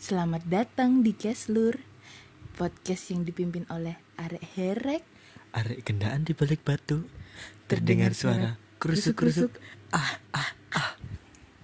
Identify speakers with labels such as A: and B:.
A: Selamat datang di Keslur Podcast yang dipimpin oleh Arek Herek
B: Arek gendaan di balik batu Terdengar suara kerusuk-kerusuk Ah, ah,